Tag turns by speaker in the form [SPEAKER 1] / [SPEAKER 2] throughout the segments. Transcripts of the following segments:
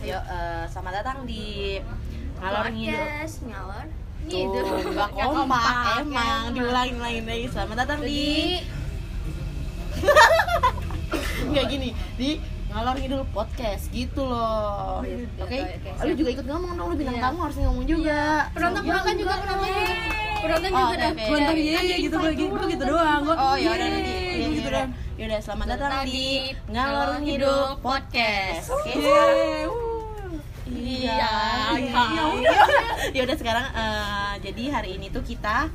[SPEAKER 1] Yo, eh, selamat datang di ngalor ngidul.
[SPEAKER 2] Podcast, ngalor
[SPEAKER 1] Tuh, nggak kompak emang diulangin lagi lagi. Selamat datang di
[SPEAKER 2] Jadi
[SPEAKER 1] nggak gini di ngalor ngidul podcast gitu loh.
[SPEAKER 2] Iya, iya,
[SPEAKER 1] Oke,
[SPEAKER 2] oke,
[SPEAKER 1] lu juga ikut ngomong dong, lu bintang
[SPEAKER 2] Iya.
[SPEAKER 1] tamu harus ngomong juga. Iya,
[SPEAKER 2] penonton penonton juga penonton juga penonton
[SPEAKER 1] Oh,
[SPEAKER 2] juga dah
[SPEAKER 1] oke, oke.
[SPEAKER 3] Gue ntar iya iya gitu gue gitu, gitu doang gue.
[SPEAKER 1] Oh ya udah nanti. Iya,
[SPEAKER 3] Yeay, gua
[SPEAKER 1] iya,
[SPEAKER 3] gitu
[SPEAKER 1] udah.
[SPEAKER 3] doang.
[SPEAKER 1] Ya udah selamat datang
[SPEAKER 2] Selamat
[SPEAKER 1] di
[SPEAKER 2] datang di
[SPEAKER 1] ngalor
[SPEAKER 2] Ngalor
[SPEAKER 1] ngidul
[SPEAKER 2] Ngidul
[SPEAKER 1] podcast. Oke,
[SPEAKER 3] Iya.
[SPEAKER 1] sekarang
[SPEAKER 3] Yeay, wuh.
[SPEAKER 2] Iya.
[SPEAKER 1] Iya. Ya udah. Ya udah sekarang eh, jadi hari ini tuh kita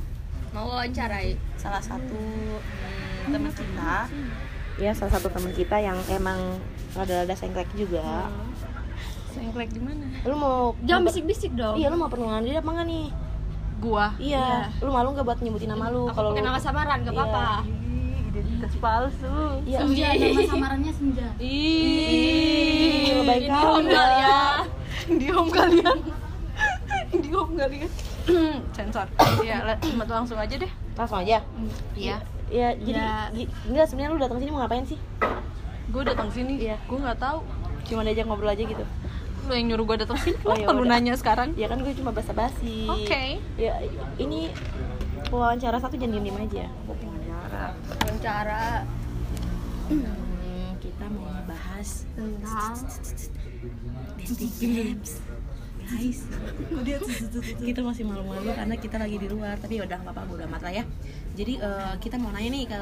[SPEAKER 2] mau wawancarai
[SPEAKER 1] salah satu hmm, teman kita. Ya, salah satu teman kita yang emang rada-rada sengklek juga.
[SPEAKER 3] Sengklek di mana?
[SPEAKER 1] Lu mau
[SPEAKER 3] Jangan bisik-bisik dong.
[SPEAKER 1] Iya, lu mau perkenalan diri apa enggak nih?
[SPEAKER 3] Gua.
[SPEAKER 1] Iya. Lu malu nggak buat nyebutin nama lu
[SPEAKER 2] aku pakai
[SPEAKER 1] lu-
[SPEAKER 2] nama samaran gak
[SPEAKER 1] Iya.
[SPEAKER 2] apa-apa
[SPEAKER 3] Identitas palsu.
[SPEAKER 1] Iya.
[SPEAKER 4] Senja, nama samarannya Senja.
[SPEAKER 3] Iya. Ih,
[SPEAKER 1] Ih, baik
[SPEAKER 2] Ini
[SPEAKER 1] kau,
[SPEAKER 2] ondal
[SPEAKER 1] ya.
[SPEAKER 2] ya
[SPEAKER 3] Indiom kalian. Indiom kalian. Sensor. Iya, la- mat- langsung aja deh.
[SPEAKER 1] Langsung aja.
[SPEAKER 3] Iya.
[SPEAKER 1] Iya, jadi
[SPEAKER 3] Iya.
[SPEAKER 1] gi- enggak sebenarnya lu datang sini mau ngapain sih?
[SPEAKER 3] Gue datang sini.
[SPEAKER 1] Iya.
[SPEAKER 3] Gue nggak tahu.
[SPEAKER 1] Cuma diajak ngobrol aja gitu.
[SPEAKER 3] Lu yang nyuruh gue datang sini.
[SPEAKER 1] Oh, ya
[SPEAKER 3] Kenapa lu
[SPEAKER 1] udah.
[SPEAKER 3] nanya sekarang?
[SPEAKER 1] Ya kan gue cuma basa-basi.
[SPEAKER 3] Oke.
[SPEAKER 1] Ya ini wawancara satu jangan diem-diem aja.
[SPEAKER 2] wawancara
[SPEAKER 1] Hmm, kita mau bahas
[SPEAKER 2] tentang
[SPEAKER 1] dating apps guys kita masih malu-malu karena kita lagi di luar tapi udah nggak apa-apa udah amat lah ya jadi eh, kita mau nanya nih ke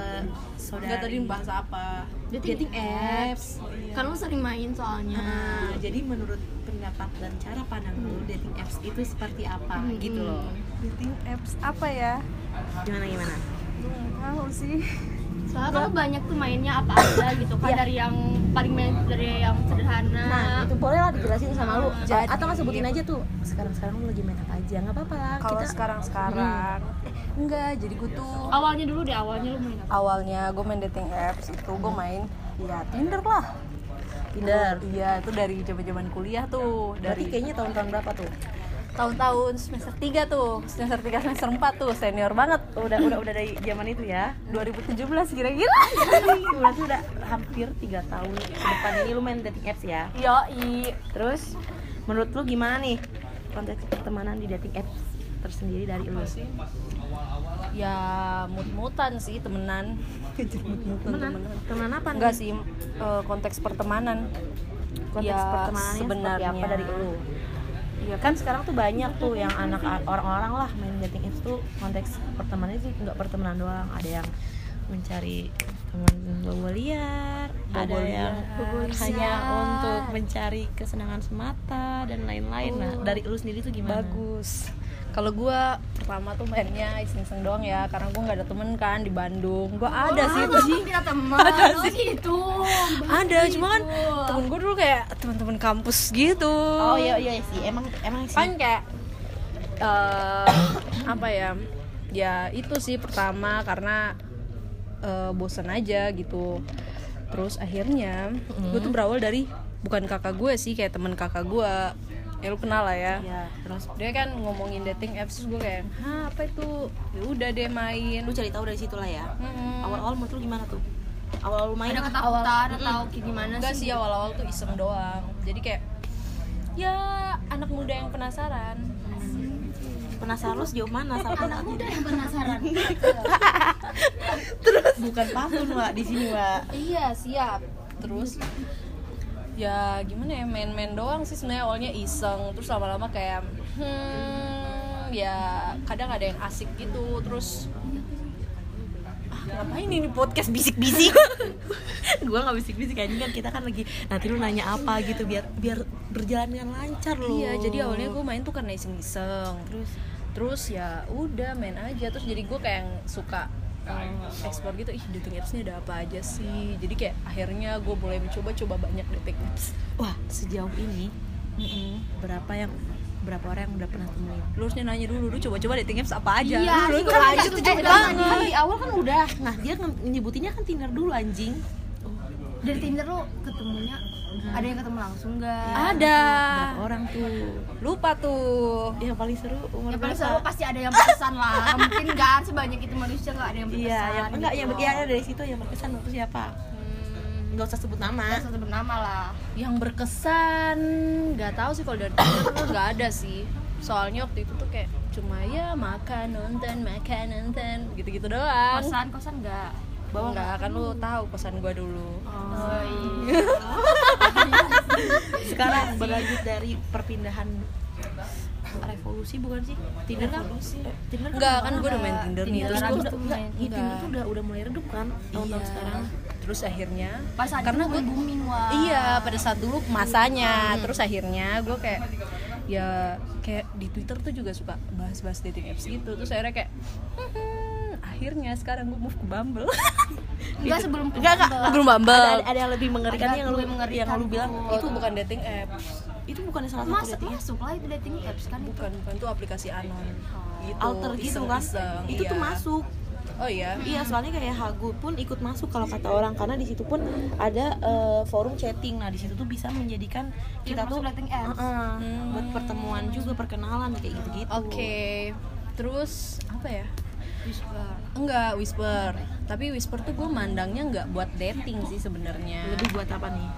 [SPEAKER 1] saudara
[SPEAKER 3] Enggak tadi bahas apa?
[SPEAKER 1] dating apps
[SPEAKER 3] Oh, iya.
[SPEAKER 2] kan lu sering main soalnya
[SPEAKER 1] Nah,
[SPEAKER 3] Ah, Hmm.
[SPEAKER 1] jadi menurut pendapat dan cara pandang lu dating apps itu seperti apa
[SPEAKER 3] Hmm.
[SPEAKER 1] gitu loh
[SPEAKER 3] Dating apps apa ya?
[SPEAKER 1] gimana gimana
[SPEAKER 3] Gue nggak tahu sih.
[SPEAKER 2] soalnya kan lu banyak tuh mainnya apa aja gitu kan
[SPEAKER 1] Iya.
[SPEAKER 2] dari yang paling main dari yang sederhana
[SPEAKER 1] nah itu boleh lah dijelasin sama lu
[SPEAKER 3] Jadi-
[SPEAKER 1] atau nggak sebutin aja tuh sekarang sekarang lu lagi main apa aja nggak apa-apa lah
[SPEAKER 3] kalau
[SPEAKER 1] kita
[SPEAKER 3] sekarang sekarang enggak jadi gue tuh
[SPEAKER 2] Hmm. awalnya dulu deh awalnya lu main apa
[SPEAKER 3] awalnya gue main dating apps itu gue main ya Tinder lah
[SPEAKER 1] Tinder
[SPEAKER 3] iya itu dari zaman zaman kuliah tuh
[SPEAKER 1] berarti
[SPEAKER 3] dari
[SPEAKER 1] kayaknya tahun-tahun berapa tuh
[SPEAKER 3] tahun-tahun semester 3 tuh semester 3 semester 4 tuh senior banget
[SPEAKER 1] udah udah udah dari zaman itu ya
[SPEAKER 3] 2017 kira-kira
[SPEAKER 1] berarti udah hampir tiga tahun ke depan ini lu main dating apps ya
[SPEAKER 3] yoi
[SPEAKER 1] terus menurut lu gimana nih konteks pertemanan di dating apps tersendiri dari lu
[SPEAKER 3] ya mut-mutan sih temenan
[SPEAKER 1] temenan temenan apa nih?
[SPEAKER 3] enggak sih eh, konteks pertemanan
[SPEAKER 1] konteks
[SPEAKER 3] ya,
[SPEAKER 1] pertemanannya seperti
[SPEAKER 3] sebenarnya.
[SPEAKER 1] apa dari lu Iya kan sekarang tuh banyak tuh yang anak orang-orang lah main dating apps tuh konteks pertemanannya sih nggak pertemanan doang ada yang mencari teman bobo liar ada yang hanya untuk mencari kesenangan semata dan lain-lain nah dari lu sendiri tuh gimana
[SPEAKER 3] bagus kalau gua pertama tuh mainnya iseng-iseng doang ya karena gua nggak ada temen kan di Bandung
[SPEAKER 1] Oh,
[SPEAKER 3] gua ada sih
[SPEAKER 2] sih kita teman ada sih itu
[SPEAKER 3] ada cuma kan temen gua dulu kayak teman-teman kampus gitu
[SPEAKER 1] oh iya iya sih emang emang sih
[SPEAKER 3] kan kayak eh, apa ya ya itu sih pertama karena eh, bosan aja gitu terus akhirnya gue tuh berawal dari bukan kakak gue sih kayak teman kakak gue ya lu kenal lah ya
[SPEAKER 1] ya terus
[SPEAKER 3] dia kan ngomongin dating apps terus gue kayak hah apa itu ya udah deh main
[SPEAKER 1] lu cari tahu dari situ lah ya
[SPEAKER 3] Mm-mm.
[SPEAKER 1] awal-awal menurut lu gimana tuh awal lu main
[SPEAKER 2] ada
[SPEAKER 1] lah.
[SPEAKER 2] ketakutan ada tahu kayak gimana
[SPEAKER 3] enggak
[SPEAKER 2] sih
[SPEAKER 3] sih awal-awal tuh iseng doang jadi kayak ya anak muda yang penasaran
[SPEAKER 1] penasaran lu sejauh mana sama
[SPEAKER 4] Anak
[SPEAKER 1] pertemanan?
[SPEAKER 4] muda yang penasaran.
[SPEAKER 1] bukan pantun wa di sini wa
[SPEAKER 3] iya siap terus ya gimana ya main-main doang sih sebenarnya awalnya iseng terus lama-lama kayak hmm ya kadang ada yang asik gitu terus ah, ngapain ini podcast bisik-bisik
[SPEAKER 1] gue nggak bisik-bisik anjing kan kita kan lagi nanti lu nanya apa gitu biar biar berjalan dengan lancar lu
[SPEAKER 3] Iya, jadi awalnya gue main tuh karena iseng-iseng. Terus terus ya udah main aja. Terus jadi gue kayak yang suka eh, explore gitu. Ih, dating apps-nya ada apa aja sih? Jadi kayak akhirnya gue mulai mencoba-coba banyak dating apps.
[SPEAKER 1] wah sejauh ini berapa yang berapa orang yang udah pernah temuin
[SPEAKER 3] Lu harusnya nanya dulu, lu coba-coba dating apps apa aja?
[SPEAKER 2] Iya,
[SPEAKER 3] lu
[SPEAKER 2] itu
[SPEAKER 3] coba
[SPEAKER 2] kan
[SPEAKER 3] aja
[SPEAKER 2] satu
[SPEAKER 3] tuh
[SPEAKER 2] jam
[SPEAKER 3] coba.
[SPEAKER 2] doang.
[SPEAKER 1] kan di awal kan udah nah dia nge- nyebutinnya kan tinder dulu anjing
[SPEAKER 4] Dari Tinder lu ketemunya ada yang ketemu langsung enggak?
[SPEAKER 3] Ada. Nah,
[SPEAKER 1] Berapa orang tuh
[SPEAKER 3] Lupa tuh.
[SPEAKER 1] yang paling seru umur
[SPEAKER 4] Yang Ya paling
[SPEAKER 1] berapa?
[SPEAKER 4] seru pasti ada yang berkesan lah. Mungkin
[SPEAKER 3] ya,
[SPEAKER 4] kan sebanyak itu manusia enggak ada yang berkesan.
[SPEAKER 1] iya yang enggak
[SPEAKER 4] gitu
[SPEAKER 1] yang
[SPEAKER 4] loh.
[SPEAKER 1] yang dari situ yang berkesan itu siapa
[SPEAKER 3] Hmm,
[SPEAKER 1] nggak usah sebut nama
[SPEAKER 2] Terus sebut nama lah
[SPEAKER 3] yang berkesan nggak tahu sih kalau dari Tinder tuh nggak ada sih soalnya waktu itu tuh kayak cuma ya makan nonton makan nonton gitu-gitu doang
[SPEAKER 2] Kosan, kosan enggak?
[SPEAKER 3] bawa nggak akan kan lu tahu kosan gua dulu
[SPEAKER 2] Oh iya
[SPEAKER 1] sekarang berlanjut dari perpindahan revolusi bukan sih Tinder kan Eh, Tinder
[SPEAKER 3] nggak kan
[SPEAKER 1] lama
[SPEAKER 3] gua udah main
[SPEAKER 1] banget.
[SPEAKER 2] Tinder
[SPEAKER 1] Terus tuh
[SPEAKER 3] Tinder kan nih terus gua
[SPEAKER 2] abis
[SPEAKER 1] udah,
[SPEAKER 2] tuh
[SPEAKER 1] enggak,
[SPEAKER 2] main.
[SPEAKER 1] ya, Tinder tuh udah udah mulai redup kan tahun-tahun
[SPEAKER 3] Iya.
[SPEAKER 1] sekarang
[SPEAKER 3] terus akhirnya
[SPEAKER 2] Pas saat
[SPEAKER 3] karena
[SPEAKER 2] itu
[SPEAKER 3] gue
[SPEAKER 2] mulai booming wah
[SPEAKER 3] iya pada saat dulu
[SPEAKER 1] Hmm.
[SPEAKER 3] masanya terus akhirnya gue kayak ya kayak di twitter tuh juga suka bahas-bahas dating apps gitu terus akhirnya kayak "Hmm, akhirnya sekarang gue move ke Bumble
[SPEAKER 2] Enggak sebelum
[SPEAKER 1] enggak enggak
[SPEAKER 2] Bumble.
[SPEAKER 1] enggak.
[SPEAKER 3] belum Bumble
[SPEAKER 1] Oh. ada, ada yang lebih mengerikan
[SPEAKER 2] Ada
[SPEAKER 1] yang lu
[SPEAKER 2] lebih mengerikan
[SPEAKER 1] yang lu bilang
[SPEAKER 2] tuh.
[SPEAKER 1] itu
[SPEAKER 3] itu bukan dating apps
[SPEAKER 1] itu bukan salah satu ya?
[SPEAKER 2] Masuk,
[SPEAKER 1] dating apps.
[SPEAKER 2] masuk lah itu dating apps kan itu
[SPEAKER 3] bukan bukan itu aplikasi anon gitu
[SPEAKER 1] alter gitu kan
[SPEAKER 3] iseng-iseng,
[SPEAKER 1] itu tuh
[SPEAKER 3] iya.
[SPEAKER 1] masuk
[SPEAKER 3] oh iya
[SPEAKER 1] iya soalnya kayak hagu pun ikut masuk kalau kata orang karena di situ pun ada eh, forum chatting nah di situ tuh bisa menjadikan kita tuh
[SPEAKER 2] masuk dating apps.
[SPEAKER 1] Heeh, buat pertemuan juga perkenalan kayak gitu gitu
[SPEAKER 3] Hmm. oke terus apa ya
[SPEAKER 2] Whisper
[SPEAKER 3] Enggak, whisper. Tapi whisper tuh gue mandangnya nggak buat dating sih sebenarnya.
[SPEAKER 1] lebih buat apa nih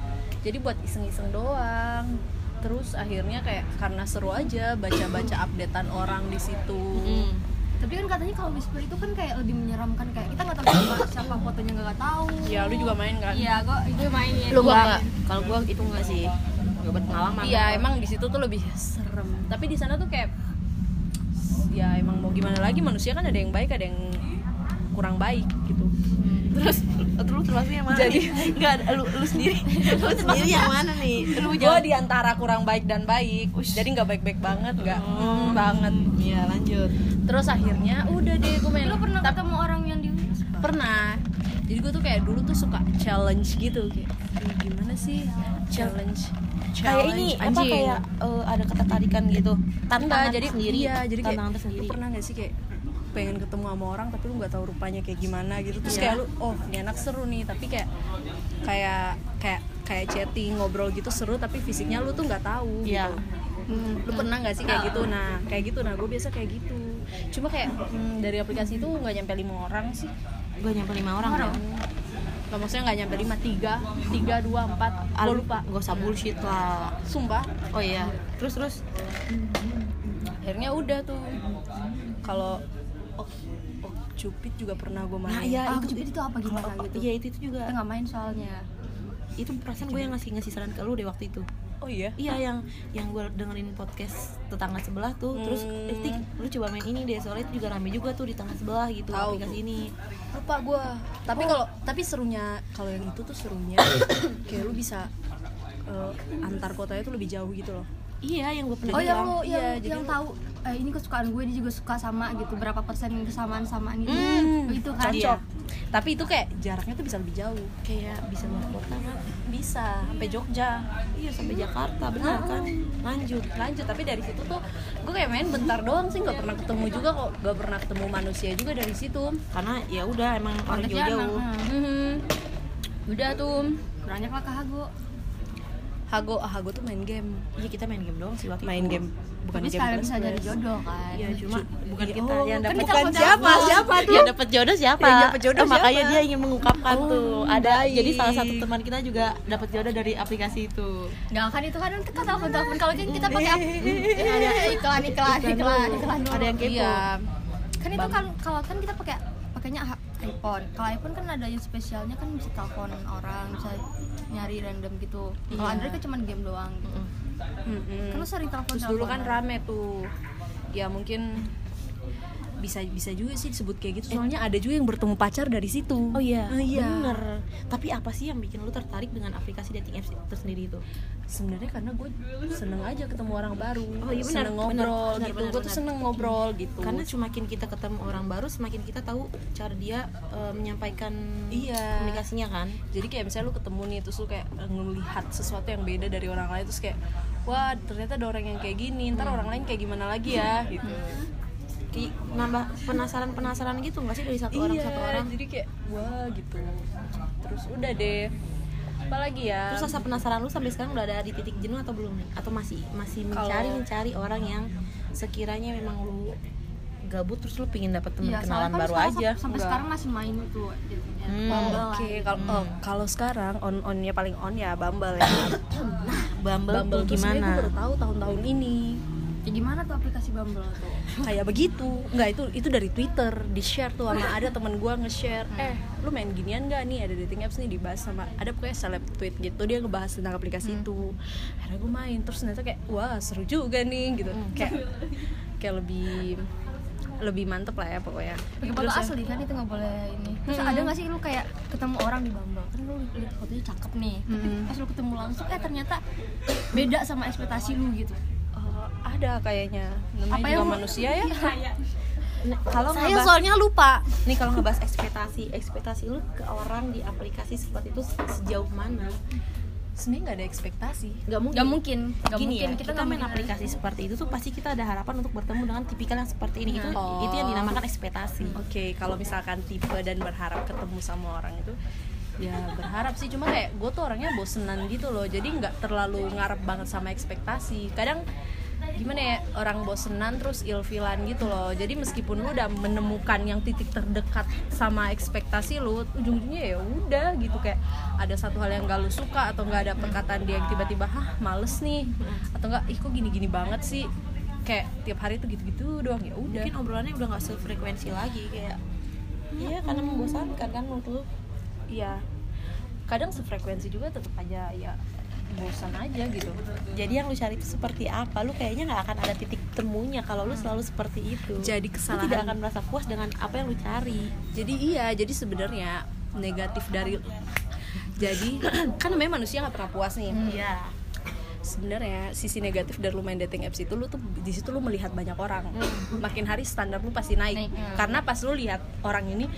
[SPEAKER 3] Jadi buat iseng-iseng doang. Terus akhirnya kayak karena seru aja baca-baca updatean orang di situ.
[SPEAKER 1] Hmm.
[SPEAKER 4] Tapi kan katanya kalau whisper itu kan kayak lebih menyeramkan kayak kita nggak tahu siapa, siapa fotonya nggak tahu.
[SPEAKER 3] Ya, lu juga main kan?
[SPEAKER 2] Iya, gue itu mainin
[SPEAKER 1] lu enggak kalau gua itu enggak sih enggak berpengalaman
[SPEAKER 3] Iya, emang di situ tuh lebih serem. Tapi di sana tuh kayak ya emang mau gimana lagi manusia kan ada yang baik, ada yang kurang baik gitu.
[SPEAKER 1] terus Eh, terus termasuk yang mana
[SPEAKER 3] Jadi-
[SPEAKER 1] nih? enggak ada, lu lu sendiri lu sendiri yang mana nih lu
[SPEAKER 3] Gue di antara kurang baik dan baik. Jadi nggak baik-baik banget, nggak
[SPEAKER 2] Oh.
[SPEAKER 3] mm, banget.
[SPEAKER 1] iya lanjut
[SPEAKER 3] Terus akhirnya udah deh gue main.
[SPEAKER 2] Lu pernah
[SPEAKER 3] Tapi-
[SPEAKER 2] ketemu orang yang di
[SPEAKER 3] pernah jadi gue tuh kayak dulu tuh suka challenge gitu kayak "Ih, gimana sih
[SPEAKER 2] Iya.
[SPEAKER 3] challenge
[SPEAKER 1] kayak ini apa
[SPEAKER 3] anjing.
[SPEAKER 1] kayak eh, ada ketertarikan gitu
[SPEAKER 3] Enggak,
[SPEAKER 1] tantangan
[SPEAKER 3] jadi
[SPEAKER 1] sendiri
[SPEAKER 3] iya jadi kayak
[SPEAKER 1] tantangan tersendiri
[SPEAKER 3] lu pernah gak sih kayak pengen ketemu sama orang tapi lu nggak tahu rupanya kayak gimana gitu terus
[SPEAKER 1] Iya.
[SPEAKER 3] kayak lu oh ini anak seru nih tapi kayak kayak kayak kayak chatting ngobrol gitu seru tapi fisiknya lu tuh nggak tahu
[SPEAKER 1] Iya.
[SPEAKER 3] gitu lu pernah nggak sih kayak gitu nah kayak gitu nah gue biasa kayak gitu cuma kayak hmm, dari aplikasi itu nggak nyampe lima orang sih
[SPEAKER 1] gue nyampe lima orang ya
[SPEAKER 3] Gak maksudnya nggak nyampe lima tiga tiga dua empat gue
[SPEAKER 1] Al-
[SPEAKER 3] lupa
[SPEAKER 1] gak usah bullshit lah
[SPEAKER 3] sumpah
[SPEAKER 1] oh iya terus terus
[SPEAKER 3] akhirnya udah tuh kalau oh, oh cupid juga pernah gue main
[SPEAKER 1] nah iya
[SPEAKER 4] Ah,
[SPEAKER 1] itu
[SPEAKER 4] itu, itu apa gimana gitu?
[SPEAKER 1] iya itu, itu
[SPEAKER 4] Kita
[SPEAKER 1] juga
[SPEAKER 4] nggak main soalnya.
[SPEAKER 1] itu perasaan gue yang ngasih ngasih saran ke lu deh waktu itu
[SPEAKER 3] oh iya
[SPEAKER 1] iya yang yang gue dengerin podcast tetangga sebelah tuh terus
[SPEAKER 3] Hmm.
[SPEAKER 1] Rizky lu coba main ini deh soalnya itu juga rame juga tuh di tetangga sebelah gitu
[SPEAKER 3] Tahu
[SPEAKER 1] aplikasi
[SPEAKER 3] tuh.
[SPEAKER 1] ini
[SPEAKER 3] lupa gue tapi kalau tapi serunya kalau yang itu tuh serunya kayak lu bisa eh, antar kotanya tuh lebih jauh gitu loh
[SPEAKER 1] iya yang gue pernah
[SPEAKER 4] Oh yang
[SPEAKER 1] bilang.
[SPEAKER 4] lu
[SPEAKER 3] Iya,
[SPEAKER 4] yang,
[SPEAKER 3] jadi
[SPEAKER 4] yang
[SPEAKER 3] lu-
[SPEAKER 4] tahu eh, ini kesukaan gue dia juga suka sama gitu berapa persen kesamaan-samaan gitu. itu kan.
[SPEAKER 3] Hmm, cocok Iya. tapi itu kayak jaraknya tuh bisa lebih jauh
[SPEAKER 1] kayak bisa luar kota kan
[SPEAKER 3] bisa sampai Jogja
[SPEAKER 1] iya sampai Jakarta benar kan lanjut
[SPEAKER 3] lanjut tapi dari situ tuh gue kayak main bentar doang sih nggak pernah ketemu juga kok nggak pernah ketemu manusia juga dari situ
[SPEAKER 1] karena ya udah emang orang
[SPEAKER 2] Konteksnya
[SPEAKER 1] jauh-jauh
[SPEAKER 4] hmm.
[SPEAKER 2] emang,
[SPEAKER 3] Mhm. udah tuh
[SPEAKER 4] Banyak lah Kak Hago.
[SPEAKER 3] hago ah, hago tuh main game
[SPEAKER 1] iya kita main game doang sih waktu
[SPEAKER 3] main
[SPEAKER 1] itu.
[SPEAKER 3] game bukan
[SPEAKER 4] Tapi
[SPEAKER 3] game
[SPEAKER 4] sekalian
[SPEAKER 3] plus
[SPEAKER 4] bisa jadi
[SPEAKER 3] plus.
[SPEAKER 4] jodoh kan.
[SPEAKER 1] Iya cuma bukan
[SPEAKER 3] iya,
[SPEAKER 1] kita
[SPEAKER 3] oh,
[SPEAKER 1] yang
[SPEAKER 3] kan
[SPEAKER 1] dapat
[SPEAKER 3] kita Bukan mau siapa, jodoh. siapa tuh?
[SPEAKER 1] Yang dapat jodoh siapa?
[SPEAKER 3] Yang dapat jodoh
[SPEAKER 1] Eh, Makanya
[SPEAKER 3] siapa?
[SPEAKER 1] dia ingin mengungkapkan
[SPEAKER 3] Oh,
[SPEAKER 1] tuh. Ada
[SPEAKER 3] baik.
[SPEAKER 1] jadi salah satu teman kita juga dapat jodoh dari aplikasi itu.
[SPEAKER 2] Enggak kan itu kan kita telepon telepon kalau kan kita pakai apa?
[SPEAKER 4] Hmm, iya,
[SPEAKER 2] Eh, ada iklan iklan iklan iklan dulu.
[SPEAKER 1] Ada yang kepo.
[SPEAKER 3] iya
[SPEAKER 4] Kan itu kan kalau kan kita pakai pakainya ha- iPhone. Kalau iPhone kan ada yang spesialnya kan bisa telepon orang, bisa nyari random gitu. Kalau Android kan cuma game doang gitu.
[SPEAKER 3] Mm-mm.
[SPEAKER 4] Kan Iya, lu sering
[SPEAKER 3] Hmm.
[SPEAKER 4] telepon
[SPEAKER 3] terus dulu kan rame tuh ya mungkin bisa bisa juga sih disebut kayak gitu soalnya ada juga yang bertemu pacar dari situ
[SPEAKER 1] Oh iya,
[SPEAKER 3] iya
[SPEAKER 1] bener. Tapi apa sih yang bikin lu tertarik dengan aplikasi dating apps itu sendiri itu?
[SPEAKER 3] sebenarnya karena gue seneng aja ketemu orang baru
[SPEAKER 1] Oh, iya, benar,
[SPEAKER 3] seneng ngobrol
[SPEAKER 1] benar, benar,
[SPEAKER 3] gitu
[SPEAKER 1] benar,
[SPEAKER 3] gue tuh
[SPEAKER 1] benar.
[SPEAKER 3] seneng ngobrol gitu
[SPEAKER 1] Karena semakin kita ketemu orang baru, semakin kita tahu cara dia eh, menyampaikan
[SPEAKER 3] Iya.
[SPEAKER 1] komunikasinya kan.
[SPEAKER 3] jadi kayak misalnya lu ketemu nih terus lu kayak ngelihat sesuatu yang beda dari orang lain terus kayak wah ternyata ada orang yang kayak gini ntar orang lain kayak gimana lagi ya gitu
[SPEAKER 1] Kayak nambah penasaran-penasaran gitu nggak sih dari satu orang satu orang?
[SPEAKER 3] Iya, jadi kayak wah gitu terus udah deh apalagi ya
[SPEAKER 1] Terus rasa penasaran lu sampai sekarang udah ada di titik jenuh atau belum nih? Atau masih masih
[SPEAKER 3] Kalau-
[SPEAKER 1] mencari mencari orang yang sekiranya memang lu gabut terus lu pingin dapet temen hmm,
[SPEAKER 4] Iya,
[SPEAKER 1] kenalan
[SPEAKER 4] soalnya kan
[SPEAKER 1] baru
[SPEAKER 4] sekarang
[SPEAKER 1] aja
[SPEAKER 4] sam- sampai
[SPEAKER 3] Enggak.
[SPEAKER 4] sekarang masih main itu jadinya.
[SPEAKER 1] Hmm.
[SPEAKER 4] Bumble lah.
[SPEAKER 3] Oke, kalau oh, kalau sekarang on onnya paling on ya Bumble ya.
[SPEAKER 1] Bumble,
[SPEAKER 3] Bumble
[SPEAKER 1] tuh
[SPEAKER 3] tuh sebenarnya
[SPEAKER 1] gimana
[SPEAKER 3] gue baru tahu tahun-tahun ini
[SPEAKER 4] Ya, gimana tuh aplikasi Bumble tuh?
[SPEAKER 3] kayak begitu. Enggak itu itu dari Twitter di share tuh sama ada temen gue nge-share. Eh, lu main ginian gak nih ada dating apps nih dibahas sama ada pokoknya seleb tweet gitu dia ngebahas tentang aplikasi itu. Akhirnya gue main terus ternyata kayak wah seru juga nih gitu. Kayak kayak lebih lebih mantep lah ya pokoknya.
[SPEAKER 4] Pakai foto asli kan itu nggak boleh ini. Terus ada nggak sih lu kayak ketemu orang di Bumble? Kan lu lihat fotonya cakep nih. Tapi pas lu ketemu langsung eh ternyata beda sama ekspektasi lu gitu.
[SPEAKER 3] eh, ada kayaknya namanya
[SPEAKER 4] Apa
[SPEAKER 3] juga
[SPEAKER 4] yang- Iya.
[SPEAKER 3] manusia ya.
[SPEAKER 1] Nah, kalau
[SPEAKER 2] Saya
[SPEAKER 1] ngebahas-
[SPEAKER 2] soalnya lupa.
[SPEAKER 1] nih kalau ngebahas ekspektasi ekspektasi lu ke orang di aplikasi seperti itu se- sejauh mana
[SPEAKER 3] Sebenarnya nggak ada ekspektasi.
[SPEAKER 1] nggak mungkin
[SPEAKER 4] Gak mungkin, gak
[SPEAKER 1] Gini
[SPEAKER 4] mungkin
[SPEAKER 1] ya, kita,
[SPEAKER 4] nggak
[SPEAKER 1] main
[SPEAKER 4] mungkin
[SPEAKER 1] aplikasi seperti itu tuh pasti kita ada harapan untuk bertemu dengan tipikal yang seperti ini itu
[SPEAKER 3] Oh.
[SPEAKER 1] itu yang dinamakan ekspektasi
[SPEAKER 3] Hmm. Oke, kalau misalkan tipe dan berharap ketemu sama orang itu ya berharap sih cuma kayak gue tuh orangnya bosenan gitu loh jadi nggak terlalu ngarep banget sama ekspektasi kadang gimana ya orang bosenan terus ilfilan gitu loh jadi meskipun lu udah menemukan yang titik terdekat sama ekspektasi lu ujung-ujungnya ya udah gitu kayak ada satu hal yang gak lu suka atau nggak ada perkataan dia yang tiba-tiba hah males nih atau nggak ih kok gini-gini banget sih kayak tiap hari tuh gitu-gitu doang ya udah
[SPEAKER 1] mungkin obrolannya udah nggak sefrekuensi lagi kayak iya karena membosankan kan menurut lu
[SPEAKER 3] Iya. Kadang sefrekuensi juga tetap aja ya bosan aja gitu.
[SPEAKER 1] jadi yang lu cari itu seperti apa lu kayaknya nggak akan ada titik temunya kalau lu selalu seperti itu
[SPEAKER 3] Jadi
[SPEAKER 1] lu
[SPEAKER 3] kesalahan.
[SPEAKER 1] tidak akan merasa puas dengan apa yang lu cari
[SPEAKER 3] Jadi iya, jadi sebenarnya negatif dari jadi kan namanya manusia nggak pernah puas nih.
[SPEAKER 1] iya
[SPEAKER 3] Sebenarnya sisi negatif dari lu main dating apps itu lu tuh di situ lu melihat banyak orang. Makin hari standar lu pasti naik.
[SPEAKER 4] Naik, hmm.
[SPEAKER 3] Karena pas lu lihat orang ini,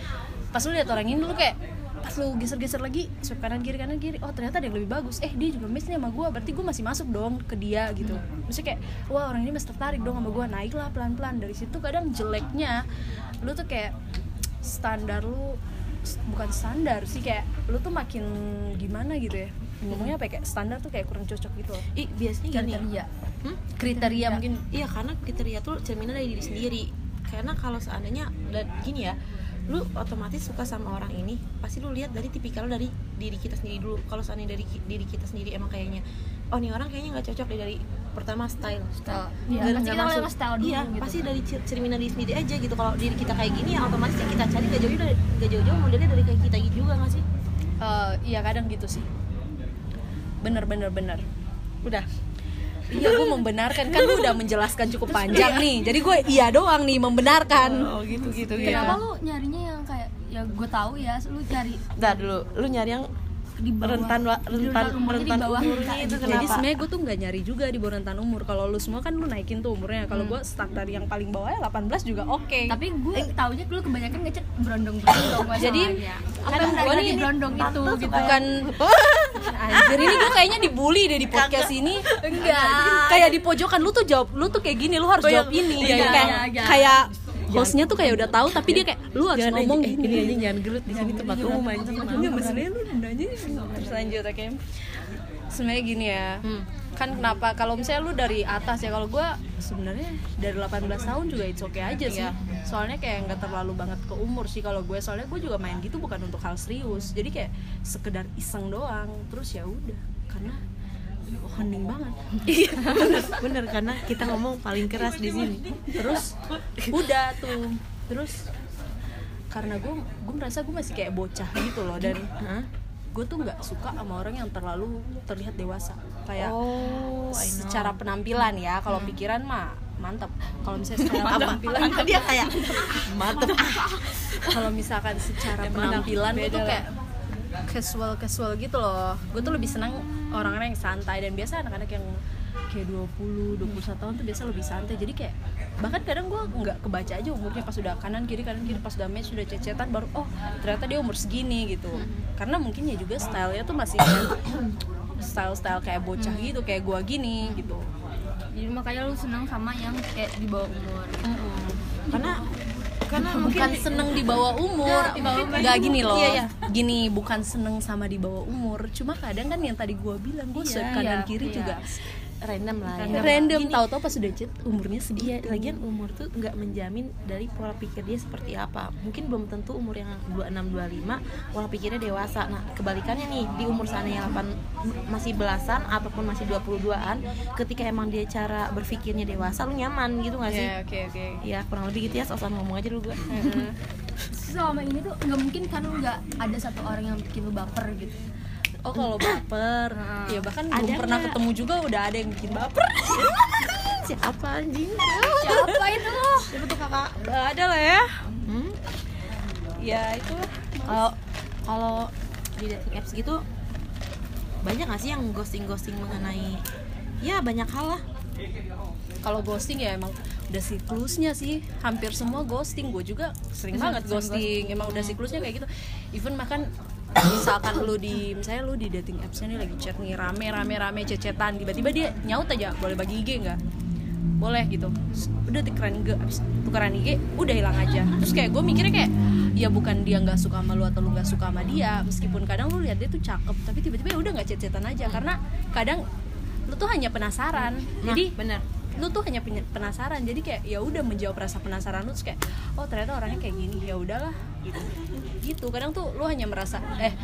[SPEAKER 3] pas lu lihat orang ini lu kayak pas lu geser-geser lagi swipe kanan kiri kanan kiri oh ternyata ada yang lebih bagus eh dia juga match nih sama gue berarti gue masih masuk dong ke dia gitu maksudnya kayak wah orang ini masih tertarik dong sama gue naiklah pelan-pelan dari situ kadang jeleknya lu tuh kayak standar lu s- bukan standar sih kayak lu tuh makin gimana gitu ya ngomongnya apa ya, kayak standar tuh kayak kurang cocok gitu loh
[SPEAKER 1] Ih, biasanya
[SPEAKER 4] Gak
[SPEAKER 1] gini Hmm?
[SPEAKER 4] iya.
[SPEAKER 3] kriteria mungkin
[SPEAKER 1] iya karena kriteria tuh cerminan dari diri sendiri karena kalau seandainya dan gini ya lu otomatis suka sama orang ini pasti lu lihat dari tipikal lu dari diri kita sendiri dulu kalau seandainya dari ki- diri kita sendiri emang kayaknya oh nih orang kayaknya nggak cocok deh dari pertama style Nggak-
[SPEAKER 4] Style. Iya, pasti
[SPEAKER 1] nggak
[SPEAKER 4] kita
[SPEAKER 1] masuk.
[SPEAKER 4] lewat style dulu
[SPEAKER 1] iya
[SPEAKER 4] gitu.
[SPEAKER 1] pasti dari cer- cerminan diri sendiri aja gitu kalau diri kita kayak gini ya otomatis yang kita cari gak jauh jauh gak jauh jauh modelnya dari kayak kita gitu juga nggak sih
[SPEAKER 3] eh, iya kadang gitu sih bener bener bener
[SPEAKER 1] udah
[SPEAKER 3] iya gue membenarkan kan lu udah menjelaskan cukup panjang nih jadi gue iya doang nih membenarkan
[SPEAKER 1] oh gitu gitu
[SPEAKER 4] Kenapa lu nyarinya yang kayak ya gue tahu ya, lu cari
[SPEAKER 1] Dah dulu, lu nyari yang
[SPEAKER 4] di bawah
[SPEAKER 1] rentan wa-
[SPEAKER 4] di
[SPEAKER 1] rentan
[SPEAKER 4] umurnya di
[SPEAKER 1] rentan
[SPEAKER 4] bawah
[SPEAKER 1] umurnya
[SPEAKER 4] kita
[SPEAKER 1] itu
[SPEAKER 4] gitu.
[SPEAKER 1] kenapa?
[SPEAKER 3] Jadi sebenarnya gue tuh nggak nyari juga di bawah rentan umur. Kalau lu semua kan lu naikin tuh umurnya. Kalau gue standar yang paling bawahnya 18 juga oke.
[SPEAKER 4] tapi gue taunya dulu kebanyakan ngecek berondong-berondong masalahnya.
[SPEAKER 3] Jadi,
[SPEAKER 4] karena
[SPEAKER 3] kadang
[SPEAKER 4] gue
[SPEAKER 3] gua
[SPEAKER 4] nih
[SPEAKER 3] nih
[SPEAKER 4] berondong itu gitu
[SPEAKER 3] bukan anjir ini gue kayaknya dibully deh di podcast ini
[SPEAKER 4] enggak
[SPEAKER 3] kayak di pojokan lu tuh jawab lu tuh kayak gini lu harus jawab ini kayak
[SPEAKER 4] iya, iya, iya.
[SPEAKER 3] kayak hostnya tuh kayak udah tahu tapi dia kayak lu harus ngomong
[SPEAKER 1] eh,
[SPEAKER 3] gini
[SPEAKER 1] gini aja jangan gelut di sini tempat umum anjing
[SPEAKER 3] Enggak masalahnya lu nanya terus lanjut oke sebenarnya gini ya kan kenapa kalau misalnya lu dari atas ya kalau gua sebenarnya dari 18 tahun juga it's okay aja sih soalnya kayak nggak terlalu banget ke umur sih kalau gue soalnya gue juga main gitu bukan untuk hal serius jadi kayak sekedar iseng doang terus ya udah karena hening banget
[SPEAKER 1] iya bener bener karena kita ngomong paling keras di sini
[SPEAKER 3] terus udah tuh terus karena gue gue merasa gue masih kayak bocah gitu loh dan
[SPEAKER 1] Hah?
[SPEAKER 3] gue tuh nggak suka sama orang yang terlalu terlihat dewasa kayak
[SPEAKER 1] oh
[SPEAKER 3] secara penampilan ya kalau
[SPEAKER 1] Hmm.
[SPEAKER 3] pikiran mah mantap kalau misalnya secara penampilan
[SPEAKER 1] Kan dia kayak "Ah, mantep
[SPEAKER 3] kalau misalkan secara
[SPEAKER 1] Emang
[SPEAKER 3] penampilan gue
[SPEAKER 1] beda
[SPEAKER 3] tuh
[SPEAKER 1] lah.
[SPEAKER 3] kayak casual casual gitu loh gue tuh lebih senang orang-orang yang santai dan biasa anak-anak yang kayak 20 21 tahun tuh biasa lebih santai jadi kayak bahkan kadang gue nggak kebaca aja umurnya pas udah kanan kiri kanan kiri pas udah match udah cecetan baru oh ternyata dia umur segini gitu
[SPEAKER 1] Hmm.
[SPEAKER 3] karena mungkin ya juga stylenya tuh masih style style kayak bocah
[SPEAKER 1] Hmm.
[SPEAKER 3] gitu kayak gua gini gitu
[SPEAKER 4] jadi makanya lu seneng sama yang kayak di bawah umur
[SPEAKER 1] karena karena mungkin
[SPEAKER 3] bukan seneng di bawah umur
[SPEAKER 4] Di bawah umur.
[SPEAKER 3] nggak gini loh
[SPEAKER 1] Iya, iya.
[SPEAKER 3] gini bukan seneng sama di bawah umur cuma kadang kan yang tadi gua bilang gue
[SPEAKER 4] Iya,
[SPEAKER 3] swipe kanan
[SPEAKER 4] iya,
[SPEAKER 3] kiri
[SPEAKER 4] iya.
[SPEAKER 3] juga
[SPEAKER 1] random lah ya.
[SPEAKER 3] random
[SPEAKER 1] Gini,
[SPEAKER 3] tahu-tahu pas udah chat umurnya
[SPEAKER 1] Iya,
[SPEAKER 3] segitu
[SPEAKER 1] lagian umur tuh nggak menjamin dari pola pikir dia seperti apa. Mungkin belum tentu umur yang 26 25 pola pikirnya dewasa. Nah, kebalikannya nih, di umur sana yang 8 masih belasan ataupun masih 22-an, ketika emang dia cara berpikirnya dewasa lu nyaman gitu nggak sih?
[SPEAKER 3] ya oke oke
[SPEAKER 1] Iya, kurang lebih gitu ya, soal ngomong aja dulu gue.
[SPEAKER 3] Heeh.
[SPEAKER 4] selama ini tuh nggak mungkin kan lu nggak ada satu orang yang bikin lu baper gitu
[SPEAKER 3] oh kalau baper ya bahkan
[SPEAKER 1] Ada
[SPEAKER 3] belum pernah
[SPEAKER 1] nggak?
[SPEAKER 3] ketemu juga udah ada yang bikin baper
[SPEAKER 1] Siapa anjing?
[SPEAKER 4] siapa itu
[SPEAKER 3] siapa tuh kakak Nggak ada lah ya
[SPEAKER 1] Hmm?
[SPEAKER 3] ya itu
[SPEAKER 1] Kalau kalau di dating apps gitu banyak nggak sih yang ghosting-ghosting mengenai ya banyak hal lah
[SPEAKER 3] kalau ghosting ya emang udah siklusnya sih hampir semua ghosting gue juga sering banget ghosting emang udah siklusnya kayak gitu even makan misalkan lu di misalnya lu di dating appsnya nih lagi chat nih rame rame rame cecetan tiba-tiba dia nyaut aja boleh bagi IG nggak boleh gitu Terus udah tukeran IG abis tukeran IG udah hilang aja terus kayak gue mikirnya kayak ya bukan dia nggak suka sama lu atau lu nggak suka sama dia meskipun kadang lu lihat dia tuh cakep tapi tiba-tiba ya udah nggak cecetan aja karena kadang lu tuh hanya penasaran jadi
[SPEAKER 1] bener
[SPEAKER 3] lu tuh hanya peny- penasaran jadi kayak ya udah menjawab rasa penasaran lu terus kayak oh ternyata orangnya kayak gini ya udahlah gitu kadang tuh lu hanya merasa eh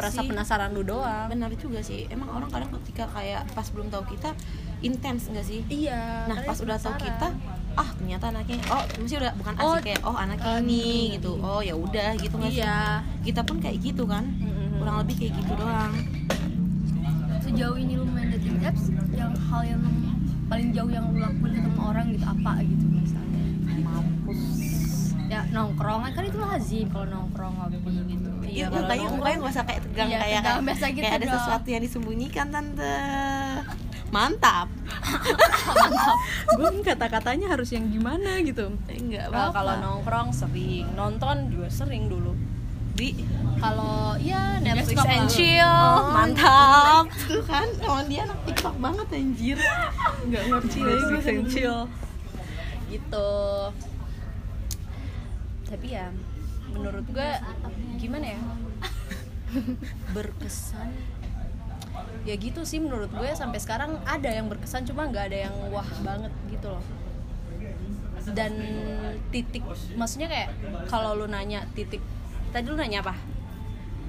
[SPEAKER 1] Iya
[SPEAKER 3] rasa
[SPEAKER 1] sih.
[SPEAKER 3] penasaran lu doang
[SPEAKER 1] benar juga sih emang orang kadang ketika kayak pas belum tahu kita intens enggak sih
[SPEAKER 3] iya
[SPEAKER 1] nah
[SPEAKER 3] karena
[SPEAKER 1] pas udah tahu
[SPEAKER 3] penasaran.
[SPEAKER 1] kita ah ternyata anaknya oh mesti udah bukan asik
[SPEAKER 3] Oh,
[SPEAKER 1] kayak oh anaknya ini gitu oh ya udah gitu nggak sih
[SPEAKER 3] iya
[SPEAKER 1] kita pun kayak gitu kan
[SPEAKER 3] Mm-mm.
[SPEAKER 1] kurang lebih kayak gitu doang
[SPEAKER 4] sejauh ini lu main dating apps yang hal yang paling jauh yang lu lakuin ketemu orang gitu apa gitu misalnya
[SPEAKER 1] mampus
[SPEAKER 4] ya nongkrongan kan itu lazim kalau nongkrong ngopi gitu
[SPEAKER 1] iya
[SPEAKER 4] kalau
[SPEAKER 1] mukanya mukanya nggak usah kayak tegang
[SPEAKER 4] Iya,
[SPEAKER 1] kayak
[SPEAKER 4] tegang, biasa gitu
[SPEAKER 1] kayak ada
[SPEAKER 4] dong.
[SPEAKER 1] sesuatu yang disembunyikan tante mantap
[SPEAKER 3] gue kata-katanya harus yang gimana gitu
[SPEAKER 1] enggak
[SPEAKER 3] Eh,
[SPEAKER 1] apa
[SPEAKER 3] kalau nongkrong sering nonton juga sering dulu
[SPEAKER 1] di
[SPEAKER 3] kalau ya Netflix
[SPEAKER 4] Bioskop
[SPEAKER 3] and
[SPEAKER 4] lah.
[SPEAKER 3] chill
[SPEAKER 1] mantap Oh, iya. tuh kan lawan dia anak tiktok banget anjir Iya,
[SPEAKER 3] nggak ngerti Netflix and chill gitu tapi ya menurut gua gimana ya berkesan ya gitu sih menurut gue sampai sekarang ada yang berkesan cuma nggak ada yang wah banget gitu loh dan titik maksudnya kayak kalau lu nanya titik tadi lu nanya apa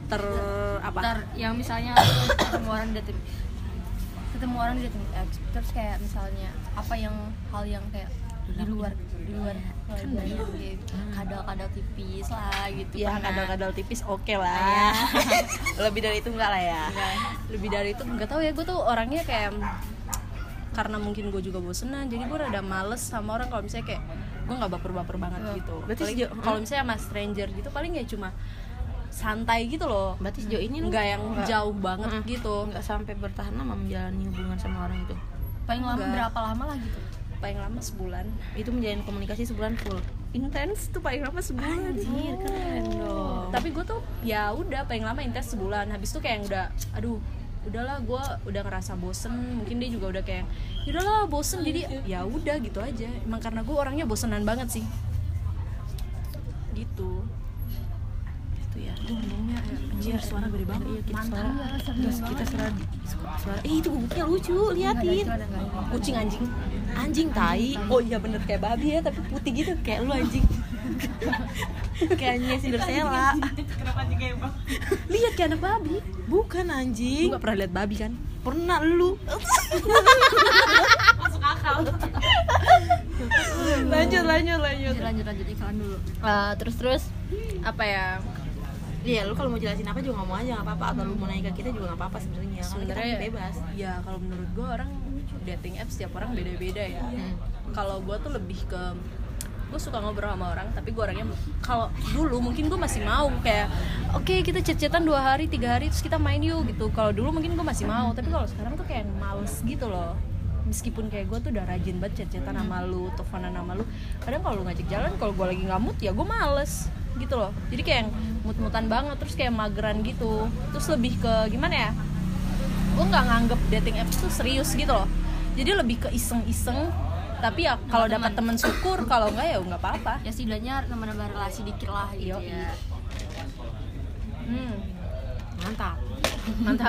[SPEAKER 3] ter apa
[SPEAKER 4] Ntar yang misalnya lu ketemu orang di dating ketemu orang di dating apps terus kayak misalnya apa yang hal yang kayak di luar di luar
[SPEAKER 3] Iya, kan
[SPEAKER 4] keluarga gitu. kadal-kadal tipis lah gitu
[SPEAKER 3] ya
[SPEAKER 4] pernah.
[SPEAKER 3] Hmm. kadal-kadal tipis oke lah
[SPEAKER 1] lebih dari itu enggak lah ya
[SPEAKER 3] lebih dari itu nggak tahu ya gue tuh orangnya kayak karena mungkin gue juga bosenan jadi gue rada males sama orang kalau misalnya kayak gue nggak baper-baper banget gitu
[SPEAKER 1] Iya. Berarti
[SPEAKER 3] Paling-
[SPEAKER 1] sejauh-
[SPEAKER 3] kalau misalnya sama stranger gitu paling ya cuma santai gitu loh
[SPEAKER 1] berarti sejauh ini lu
[SPEAKER 3] nggak yang
[SPEAKER 1] nggak-
[SPEAKER 3] jauh banget
[SPEAKER 1] Mm-mm.
[SPEAKER 3] gitu
[SPEAKER 1] nggak sampai bertahan lama menjalani hubungan sama orang itu
[SPEAKER 4] paling lama
[SPEAKER 3] Enggak.
[SPEAKER 4] berapa lama lah gitu
[SPEAKER 3] paling lama sebulan
[SPEAKER 1] itu menjalin komunikasi sebulan full
[SPEAKER 3] intens tuh paling lama sebulan
[SPEAKER 1] anjir keren dong
[SPEAKER 3] tapi gue tuh ya udah paling lama intens sebulan habis tuh kayak yang udah aduh udahlah gue udah ngerasa bosen mungkin dia juga udah kayak udahlah bosen jadi ya udah gitu aja emang karena gue orangnya bosenan banget sih gitu
[SPEAKER 1] itu ya
[SPEAKER 3] gue ngomongnya anjir suara gede banget
[SPEAKER 1] iya kita
[SPEAKER 3] Mantap.
[SPEAKER 1] suara terus kita suara suara eh itu gugupnya lucu liatin
[SPEAKER 3] kucing anjing
[SPEAKER 1] anjing tai
[SPEAKER 3] oh iya bener kayak babi ya tapi putih gitu
[SPEAKER 1] kayak lu anjing kayaknya Cinderella
[SPEAKER 3] lihat kayak anak babi
[SPEAKER 1] bukan
[SPEAKER 3] lu
[SPEAKER 1] anjing
[SPEAKER 3] gak pernah lihat babi kan
[SPEAKER 1] pernah lu
[SPEAKER 3] lanjut lanjut lanjut
[SPEAKER 4] lanjut lanjut lanjut iklan dulu
[SPEAKER 3] terus terus apa ya
[SPEAKER 1] Iya, lu kalau mau jelasin apa juga ngomong aja nggak apa-apa. Atau lu mau nanya ke kita juga nggak apa-apa sebenarnya. Kan kita
[SPEAKER 3] sebenarnya
[SPEAKER 1] bebas.
[SPEAKER 3] ya kalau menurut gue orang dating apps setiap orang beda-beda ya
[SPEAKER 1] Hmm.
[SPEAKER 3] kalau gue tuh lebih ke gue suka ngobrol sama orang tapi gue orangnya kalau dulu mungkin gue masih mau kayak oke kita chat-chatan dua hari tiga hari terus kita main yuk gitu kalau dulu mungkin gue masih mau tapi kalau sekarang tuh kayak males gitu loh meskipun kayak gue tuh udah rajin banget chat-chatan sama lu teleponan sama lu kadang kalau lu ngajak jalan kalau gue lagi ngamut ya gue males gitu loh jadi kayak yang mut-mutan banget terus kayak mageran gitu terus lebih ke gimana ya gue nggak nganggep dating apps tuh serius gitu loh jadi lebih ke iseng-iseng tapi ya kalau dapat temen syukur kalau enggak ya nggak apa-apa
[SPEAKER 4] ya setidaknya nambah-nambah relasi dikit lah gitu
[SPEAKER 3] Yoi.
[SPEAKER 4] ya
[SPEAKER 3] hmm,
[SPEAKER 1] Mantap.
[SPEAKER 3] mantap